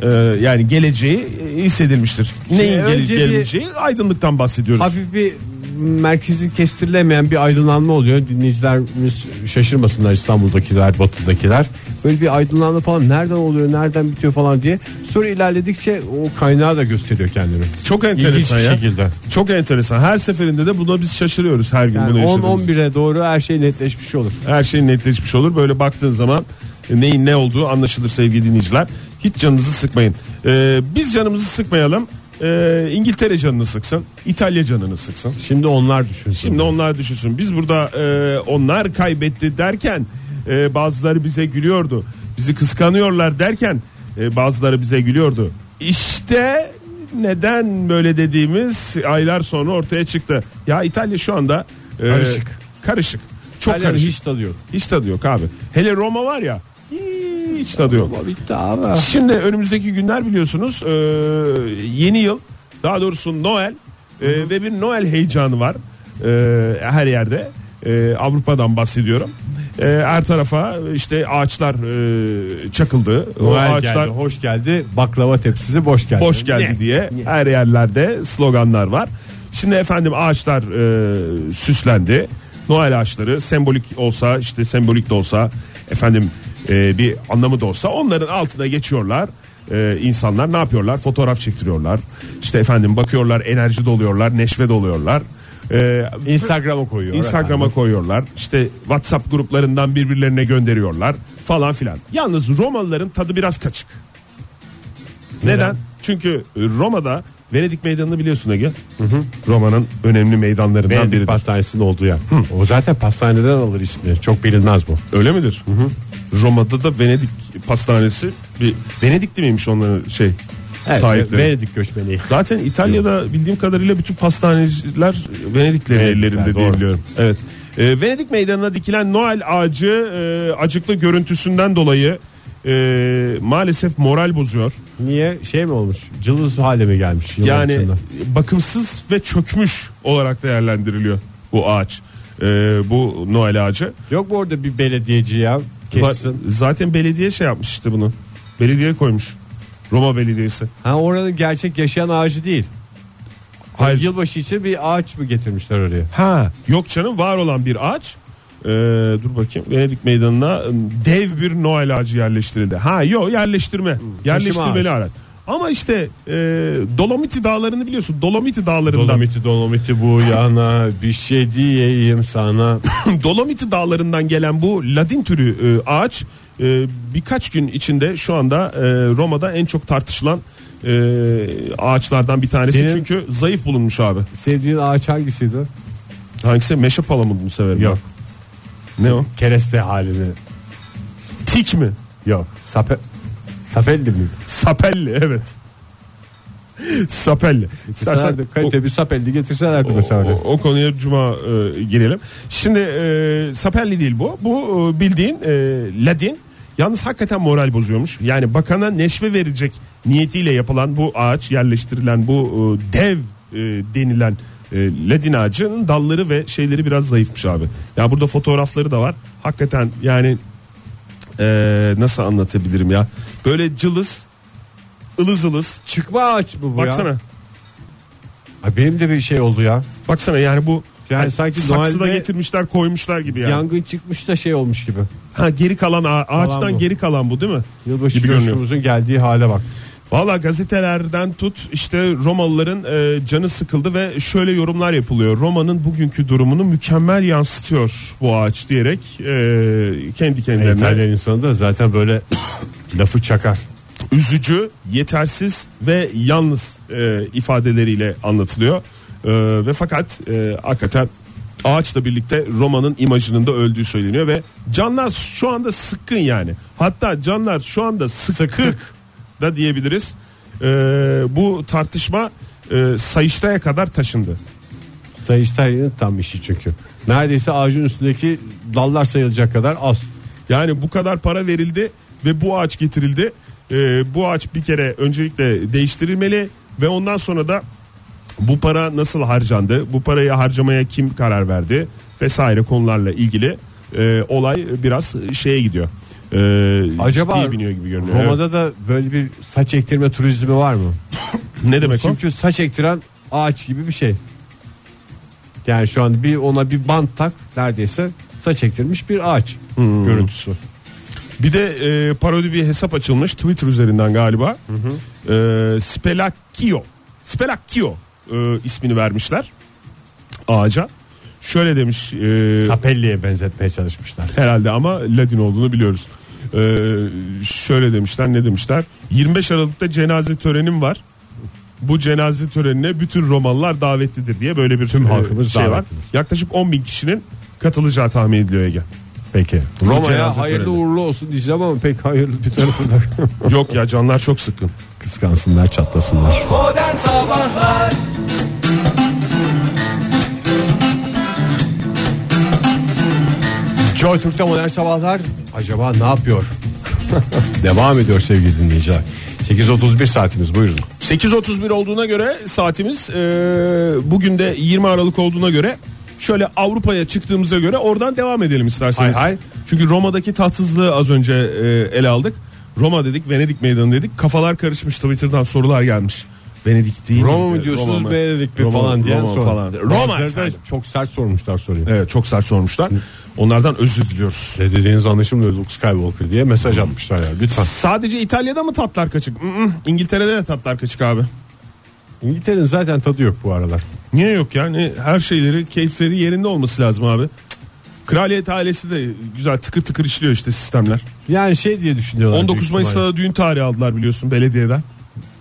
D: E, yani geleceği e, hissedilmiştir. Neyin gele-
C: önce bir-
D: geleceği? Aydınlıktan bahsediyoruz.
C: Hafif bir merkezi kestirilemeyen bir aydınlanma oluyor. Dinleyicilerimiz şaşırmasınlar İstanbul'dakiler, Batı'dakiler. Böyle bir aydınlanma falan nereden oluyor, nereden bitiyor falan diye. Sonra ilerledikçe o kaynağı da gösteriyor kendini.
D: Çok enteresan
C: İlginç
D: ya.
C: bir şekilde.
D: Çok enteresan. Her seferinde de buna biz şaşırıyoruz her gün bunu
C: Yani
D: yaşadığımız.
C: 10-11'e doğru her şey netleşmiş olur.
D: Her şey netleşmiş olur. Böyle baktığın zaman neyin ne olduğu anlaşılır sevgili dinleyiciler. Hiç canınızı sıkmayın. Ee, biz canımızı sıkmayalım. Ee, İngiltere canını sıksın. İtalya canını sıksın.
C: Şimdi onlar düşünsün.
D: Şimdi onlar düşünsün. Biz burada e, onlar kaybetti derken e, bazıları bize gülüyordu. Bizi kıskanıyorlar derken e, bazıları bize gülüyordu. İşte neden böyle dediğimiz aylar sonra ortaya çıktı. Ya İtalya şu anda e,
C: Karışık.
D: Karışık. Çok
C: İtalyan
D: karışık.
C: hiç tadı yok.
D: Hiç tadı yok abi. Hele Roma var ya hiç tadı yok.
C: Bitti abi.
D: Şimdi önümüzdeki günler biliyorsunuz e, yeni yıl daha doğrusu Noel e, ve bir Noel heyecanı var E, her yerde E, Avrupa'dan bahsediyorum. E, her tarafa işte ağaçlar e, çakıldı. O
C: Noel
D: ağaçlar
C: geldi, hoş geldi. Baklava tepsisi boş geldi.
D: boş geldi
C: Ne?
D: diye her yerlerde sloganlar var. Şimdi efendim ağaçlar e, süslendi. Noel ağaçları sembolik olsa işte sembolik de olsa efendim e, bir anlamı da olsa onların altına geçiyorlar. E, insanlar ne yapıyorlar? Fotoğraf çektiriyorlar. İşte efendim bakıyorlar enerji doluyorlar, neşve doluyorlar. E,
C: Instagram'a koyuyor.
D: Instagram'a koyuyorlar. İşte WhatsApp gruplarından birbirlerine gönderiyorlar falan filan. Yalnız Romalıların tadı biraz kaçık. Neden? Çünkü e, Roma'da Venedik Meydanı'nı biliyorsun Ege. Roma'nın önemli meydanlarından
C: Venedik
D: biridir.
C: pastanesinin olduğu yer. O zaten pastaneden alır ismini. Çok bilinmez bu.
D: Öyle midir? Roma'da da Venedik pastanesi bir Venedikli miymiş onların şey sahipleri?
C: Venedik göçmeni.
D: Zaten İtalya'da bildiğim kadarıyla bütün pastaneciler Venediklerin
C: Venedikler,
D: ellerinde diye
C: doğru.
D: biliyorum. Evet. Ee, Venedik meydanına dikilen Noel ağacı e, acıklı görüntüsünden dolayı e, maalesef moral bozuyor.
C: Niye şey mi olmuş? Cılız hale mi gelmiş? yıllar
D: Yani
C: içinde?
D: bakımsız ve çökmüş olarak değerlendiriliyor bu ağaç. E, bu Noel ağacı.
C: Yok mu orada bir belediyeci ya? Kessin.
D: Va- Zaten belediye şey yapmış işte bunu. Belediye koymuş. Roma Belediyesi.
C: Ha oranın gerçek yaşayan ağacı değil.
D: Hayır.
C: Yılbaşı için bir ağaç mı getirmişler oraya?
D: Ha yok canım var olan bir ağaç. Ee, dur bakayım Venedik Meydanı'na ım, dev bir Noel ağacı yerleştirildi. Ha yok yerleştirme. Yerleştirmeli
C: ağacı.
D: ağaç. Ama işte e, Dolomiti Dağları'nı biliyorsun. Dolomiti Dağları'ndan
C: Dolomiti dolomiti bu yana bir şey diyeyim sana.
D: Dolomiti Dağları'ndan gelen bu Ladin türü e, ağaç e, birkaç gün içinde şu anda e, Roma'da en çok tartışılan e, ağaçlardan bir tanesi.
C: Senin-
D: Çünkü zayıf bulunmuş abi.
C: Sevdiğin ağaç hangisiydi?
D: Hangisi? Meşe palamudunu severim.
C: Yok.
D: Ne o?
C: Kereste halini.
D: Tik mi?
C: Yok. Sape... Sapelli mi?
D: Sapelli evet. Sapelli. İstersen
C: Sana da kalite bir sapelli getirselerdi mesela.
D: o, o konuya cuma e, girelim. Şimdi e, Sapelli değil bu. Bu e, bildiğin e, Ladin. Yalnız hakikaten moral bozuyormuş. Yani bakana neşve verecek niyetiyle yapılan bu ağaç yerleştirilen bu e, dev e, denilen e, Ladin ağacının dalları ve şeyleri biraz zayıfmış abi. Ya burada fotoğrafları da var. Hakikaten yani e, nasıl anlatabilirim ya? Böyle cılız, ılız ılız.
C: Çıkma ağaç mı bu
D: Baksana.
C: ya? Ay benim de bir şey oldu ya.
D: Baksana yani bu
C: Yani
D: yani
C: sanki
D: saksıda
C: Noel'de-
D: getirmişler koymuşlar gibi yani.
C: Yangın çıkmış da şey olmuş gibi.
D: Ha geri kalan ağa- ağaçtan
C: bu.
D: geri kalan bu değil mi?
C: Yılbaşı
D: gibi görünüyor.
C: coşkumuzun geldiği hale bak.
D: Valla gazetelerden tut işte Romalıların e, canı sıkıldı ve şöyle yorumlar yapılıyor. Roma'nın bugünkü durumunu mükemmel yansıtıyor bu ağaç diyerek e, kendi kendilerine
C: İtalyan insanı da zaten böyle lafı çakar.
D: üzücü, yetersiz ve yalnız e, ifadeleriyle anlatılıyor. E, ve fakat e, hakikaten ağaçla birlikte Roma'nın imajının da öldüğü söyleniyor ve canlar şu anda sıkkın yani. Hatta canlar şu anda sıkık da diyebiliriz. E, bu tartışma e, Sayıştay'a kadar taşındı.
C: Sayıştay'ın tam işi çünkü. Neredeyse ağacın üstündeki dallar sayılacak kadar az.
D: Yani bu kadar para verildi ve bu ağaç getirildi. Ee, bu ağaç bir kere öncelikle değiştirilmeli ve ondan sonra da bu para nasıl harcandı? Bu parayı harcamaya kim karar verdi? Vesaire konularla ilgili e, olay biraz şeye gidiyor. Ee,
C: Acaba
D: ciddiye biniyor gibi görünüyor.
C: Roma'da da böyle bir saç ektirme turizmi var mı?
D: Evet. ne demek o?
C: Çünkü saç ektiren ağaç gibi bir şey. Yani şu an bir ona bir bant tak neredeyse saç ektirmiş bir ağaç görüntüsü.
D: Bir de e, parodi bir hesap açılmış Twitter üzerinden galiba. E, Spelakio. Spelakio e, ismini vermişler ağaca. Şöyle demiş e,
C: Sapelli'ye benzetmeye çalışmışlar.
D: herhalde ama Latin olduğunu biliyoruz. E, şöyle demişler ne demişler? 25 Aralık'ta cenaze törenim var. Bu cenaze törenine bütün Romalılar davetlidir diye böyle bir Tüm
C: halkımız davetlidir.
D: Yaklaşık 10 bin kişinin katılacağı tahmin ediliyor Ege.
C: Peki.
D: cenaze
C: Roma'ya hayırlı
D: töreni.
C: uğurlu olsun diyeceğim ama pek hayırlı bir tarafı da
D: Yok ya canlar çok sıkkın.
C: kıskansınlar çatlasınlar.
B: Modern Sabahlar
C: Joy Türk'te modern sabahlar acaba ne yapıyor? Devam ediyor sevgili dinleyiciler. 8.31 saatimiz buyurun.
D: 8.31 olduğuna göre saatimiz e, bugün de 20 Aralık olduğuna göre şöyle Avrupa'ya çıktığımıza göre oradan devam edelim isterseniz.
C: Hay hay.
D: Çünkü Roma'daki tatsızlığı az önce e, ele aldık. Roma dedik Venedik meydanı dedik kafalar karışmış Twitter'dan sorular gelmiş. Venedik değil
C: Roma
D: miydi?
C: mı diyorsunuz
D: mı?
C: Venedik mi
D: Roma-
C: falan diye
D: Roma falan. Roma efendim.
C: çok sert sormuşlar soruyu.
D: Evet çok sert sormuşlar. Onlardan özür diliyoruz.
C: Ne dediğiniz anlaşılmıyor Luke Skywalker diye mesaj atmışlar ya lütfen.
D: Sadece İtalya'da mı tatlar kaçık? Mm-mm. İngiltere'de de tatlar kaçık abi.
C: İngiltere'nin zaten tadı yok bu aralar.
D: Niye yok yani her şeyleri keyifleri yerinde olması lazım abi. Kraliyet ailesi de güzel tıkır tıkır işliyor işte sistemler.
C: Yani şey diye düşünüyorlar.
D: 19
C: büyük
D: Mayıs'ta
C: ihtimalle.
D: da düğün tarihi aldılar biliyorsun belediyeden.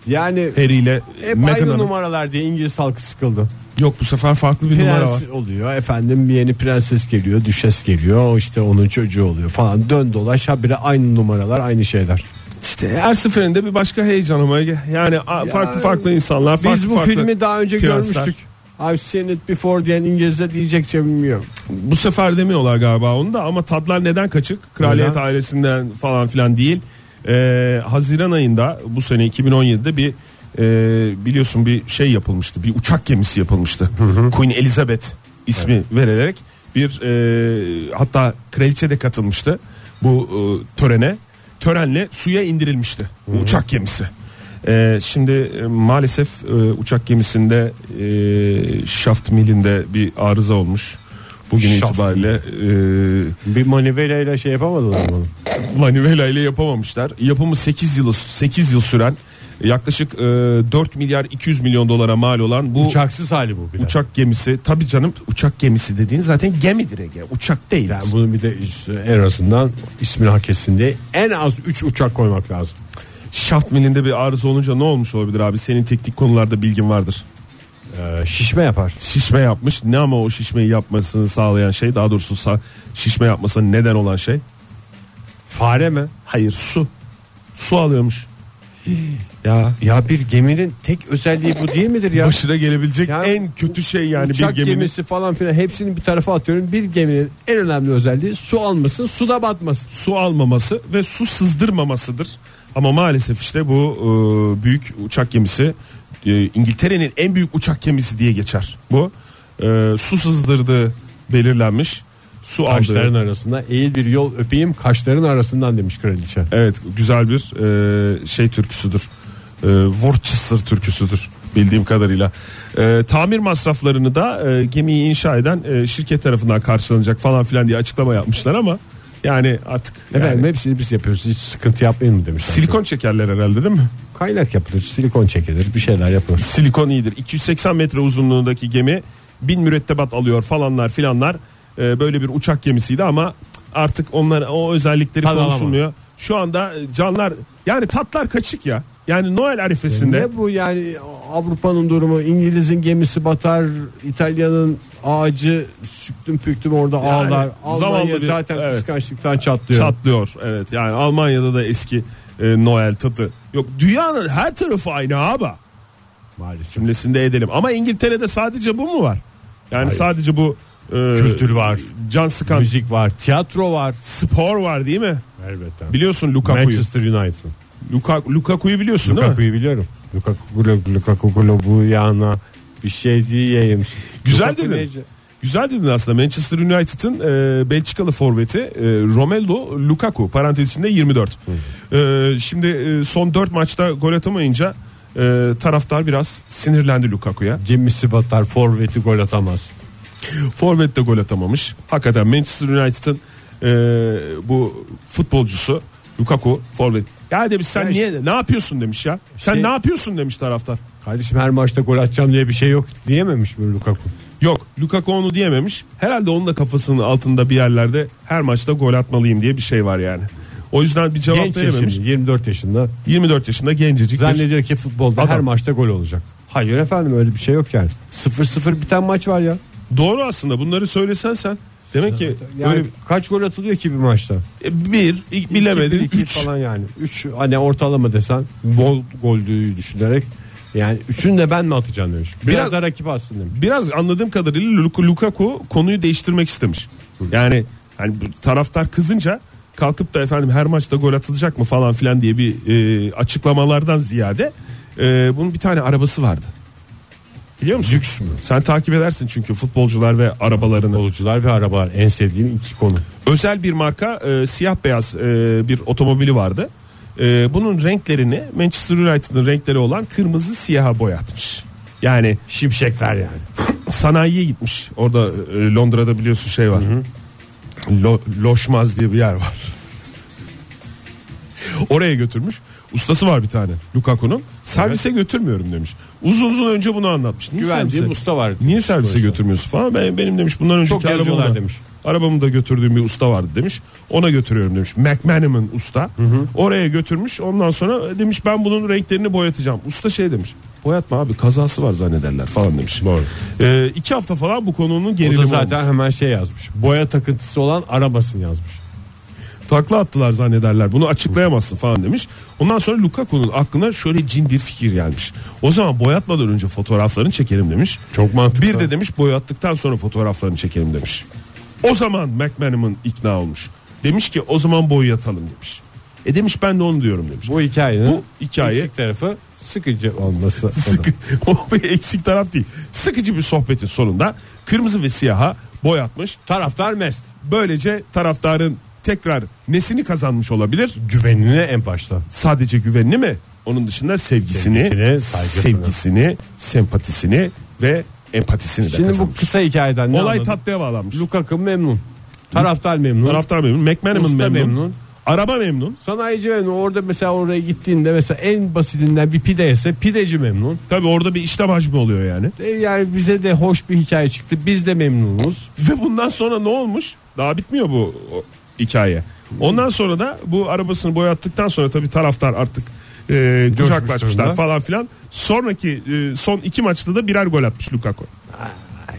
C: Yani
D: Harry ile
C: hep
D: Meghan
C: aynı
D: Hanım.
C: numaralar diye İngiliz halkı sıkıldı.
D: Yok bu sefer farklı bir numara var.
C: Prens oluyor efendim bir yeni prenses geliyor düşes geliyor işte onun çocuğu oluyor falan dön dolaş habire aynı numaralar aynı şeyler.
D: İşte E, her seferinde bir başka heyecan ama yani a- farklı farklı insanlar.
C: Biz
D: farklı
C: bu
D: farklı
C: filmi daha önce
D: prensler.
C: görmüştük. I've seen it before diyen İngilizce diyecek bilmiyorum.
D: Bu sefer demiyorlar galiba onu da ama tadlar neden kaçık? Kraliyet
C: Neden?
D: ailesinden falan filan değil. Ee, Haziran ayında bu sene 2017'de bir e, biliyorsun bir şey yapılmıştı. Bir uçak gemisi yapılmıştı. Queen Elizabeth ismi verilerek bir e, hatta kraliçe de katılmıştı bu e, törene. Törenle suya indirilmişti bu uçak gemisi. Ee, şimdi e, maalesef e, uçak gemisinde e, şaft milinde bir arıza olmuş. Bugün
C: Şaft
D: itibariyle e,
C: Bir manivelayla şey yapamadılar bunu.
D: manivela ile yapamamışlar. Yapımı 8 yıl 8 yıl süren yaklaşık e, 4 milyar 200 milyon dolara mal olan bu uçak,
C: Uçaksız hali bu bir de.
D: gemisi. Tabii canım uçak gemisi dediğin zaten gemidir Ege. Uçak değil.
C: Yani bunun bir de üstü- en azından ismini hak etsin diye en az 3 uçak koymak lazım.
D: Şaft milinde bir arıza olunca ne olmuş olabilir abi? Senin teknik konularda bilgin vardır.
C: Ee, şişme yapar.
D: şişme yapmış. Ne ama o şişmeyi yapmasını sağlayan şey daha doğrusu sa- şişme yapmasına neden olan şey.
C: Fare mi?
D: Hayır su. Su alıyormuş. Ya
C: Ya bir geminin tek özelliği bu değil midir ya?
D: başına gelebilecek
C: Ya-
D: en kötü şey yani
C: Uçak
D: bir geminin.
C: gemisi falan filan hepsini bir tarafa atıyorum. Bir geminin en önemli özelliği su almasın, suda batmasın.
D: su almaması ve su sızdırmamasıdır. Ama maalesef işte bu e, büyük uçak gemisi e, İngiltere'nin en büyük uçak gemisi diye geçer. Bu E, su sızdırdığı belirlenmiş. Su
C: Kaşların
D: aldığı.
C: arasında eğil bir yol öpeyim kaşların arasından demiş kraliçe.
D: Evet güzel bir e, şey türküsüdür. E, Worcester türküsüdür bildiğim kadarıyla. E, tamir masraflarını da e, gemiyi inşa eden e, şirket tarafından karşılanacak falan filan diye açıklama yapmışlar ama yani artık yani
C: Efendim hepsini biz yapıyoruz hiç sıkıntı yapmayın mı demişler.
D: silikon çekerler herhalde değil mi?
C: Kaynak yapılır, silikon çekilir bir şeyler yapılır.
D: silikon iyidir. 280 metre uzunluğundaki gemi 1000 mürettebat alıyor falanlar filanlar. Ee, böyle bir uçak gemisiydi ama artık onlar o özellikleri
C: Tadalama.
D: konuşulmuyor. Şu anda canlar yani tatlar kaçık ya. Yani Noel arifesinde
C: Ne bu yani Avrupa'nın durumu İngiliz'in gemisi batar İtalya'nın ağacı süktüm püktüm orada ağlar
D: zavallı
C: Almanya
D: bir-
C: zaten
D: evet.
C: kıskançlıktan çatlıyor.
D: çatlıyor. Evet yani Almanya'da da eski e, Noel tadı. Yok dünyanın her tarafı aynı abi.
C: Maalesef.
D: cümlesinde edelim. Ama İngiltere'de sadece bu mu var? Yani
C: Hayır.
D: sadece bu e,
C: Kültür var.
D: Can sıkan
C: Müzik var, tiyatro var.
D: spor var değil mi?
C: Elbette.
D: Biliyorsun Lukaku'yu.
C: Manchester United'ın.
D: Luka- Lukaku'yu biliyorsun değil mi?
C: Lukaku'yu biliyorum. Lukaku Lukaku Lukaku yana bir şey diyeyim.
D: Güzel
C: Lukaku
D: dedin.
C: nece?
D: Güzel dedin aslında Manchester United'ın e, Belçikalı forveti e, Romelu Lukaku parantez içinde 24. E, şimdi e, son 4 maçta gol atamayınca e, taraftar biraz sinirlendi Lukaku'ya.
C: Gemisi batar, forveti gol atamaz.
D: Forvet de gol atamamış. Hakikaten Manchester United'ın e, bu futbolcusu Lukaku forvet. Ya demiş sen
C: Ya
D: niye
C: işte-
D: ne yapıyorsun demiş ya. Sen
C: Şey-
D: ne yapıyorsun demiş taraftar.
C: Kardeşim her maçta gol atacağım diye bir şey yok diyememiş mi Lukaku?
D: Yok Lukaku onu diyememiş. Herhalde onun da kafasının altında bir yerlerde her maçta gol atmalıyım diye bir şey var yani. O yüzden bir cevap
C: Genç
D: verememiş.
C: yaşında 24 yaşında
D: 24 yaşında gencecik. bir-
C: zannediyor ki futbolda
D: Adam.
C: her maçta gol olacak. Hayır efendim öyle bir şey yok yani. 0-0 biten maç var ya.
D: Doğru aslında bunları söylesen sen. Demek ki
C: Yani
D: böyle
C: kaç gol atılıyor ki bir maçta?
D: e, bir, iki, bilemedin
C: iki, bir, iki
D: üç.
C: falan yani. 3 hani ortalama desen bol goldüğü düşünerek yani üçünü de ben mi atacağım demiş. Biraz,
D: Biraz-
C: da rakip atsın demiş.
D: Biraz anladığım kadarıyla Luk- Lukaku konuyu değiştirmek istemiş. Yani hani bu taraftar kızınca kalkıp da efendim her maçta gol atılacak mı falan filan diye bir e, açıklamalardan ziyade e, bunun bir tane arabası vardı. Biliyor musun?
C: Lüks mü?
D: Sen takip edersin çünkü futbolcular ve arabalarını.
C: Futbolcular ve arabalar en sevdiğim iki konu.
D: Özel bir marka e, siyah beyaz e, bir otomobili vardı. E, bunun renklerini Manchester United'ın renkleri olan kırmızı siyaha boyatmış. Yani
C: Şimşekler yani.
D: sanayiye gitmiş. Orada e, Londra'da biliyorsun şey var. Lo- Loşmaz diye bir yer var. Oraya götürmüş. Ustası var bir tane Lukaku'nun. Servise götürmüyorum demiş. Uzun uzun önce bunu anlatmış. Niye
C: Güvendiğim
D: servise-
C: usta var.
D: Niye servise götürmüyorsun falan. Ben, benim demiş bundan önceki
C: Çok yarım
D: arabamda-
C: olan demiş.
D: Arabamı da götürdüğüm bir usta vardı demiş. Ona götürüyorum demiş. McManaman usta. Oraya götürmüş. Ondan sonra demiş ben bunun renklerini boyatacağım. Usta şey demiş. Boyatma abi kazası var zannederler falan demiş. Doğru. iki hafta falan bu konunun
C: O da
D: gerilimi
C: zaten
D: olmuş.
C: hemen şey yazmış. Boya takıntısı olan arabasını yazmış.
D: Takla attılar zannederler. Bunu açıklayamazsın falan demiş. Ondan sonra Lukaku'nun aklına şöyle cin bir fikir gelmiş. O zaman boyatmadan önce fotoğraflarını çekelim demiş.
C: Çok mantıklı.
D: Bir de demiş boyattıktan sonra fotoğraflarını çekelim demiş. O zaman McManaman ikna olmuş. Demiş ki o zaman boyatalım demiş. E demiş ben de onu diyorum demiş.
C: bu hikayenin
D: Bu hikaye-
C: eksik tarafı sıkıcı olması.
D: Sıkı, o bir eksik taraf değil. Sıkıcı bir sohbetin sonunda kırmızı ve siyaha boyatmış.
C: Taraftar mest.
D: Böylece taraftarın tekrar nesini kazanmış olabilir?
C: Güvenine en başta.
D: Sadece güvenini mi? Onun dışında sevgisini,
C: Sevgisini, saygısını.
D: sevgisini, sempatisini ve empatisini de
C: Şimdi bu
D: kazanmış.
C: kısa hikayeden ne
D: Olay
C: anladık?
D: tatlıya bağlanmış.
C: Lukaku memnun. Taraftar memnun.
D: Taraftar memnun. McManaman
C: Usta
D: memnun.
C: memnun.
D: Araba memnun.
C: Sanayici memnun. Orada mesela oraya gittiğinde mesela en basitinden bir pide yese pideci memnun.
D: Tabi orada bir işlem hacmi oluyor yani.
C: E Yani bize de hoş bir hikaye çıktı. Biz de memnunuz.
D: Ve bundan sonra ne olmuş? Daha bitmiyor bu o, hikaye. Ondan sonra da bu arabasını boyattıktan sonra tabi taraftar artık e, kucaklaşmışlar
C: durumda.
D: falan filan. Sonraki e, son iki maçta da birer gol atmış Lukaku.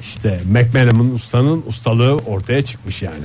C: İşte McManaman ustanın ustalığı ortaya çıkmış yani.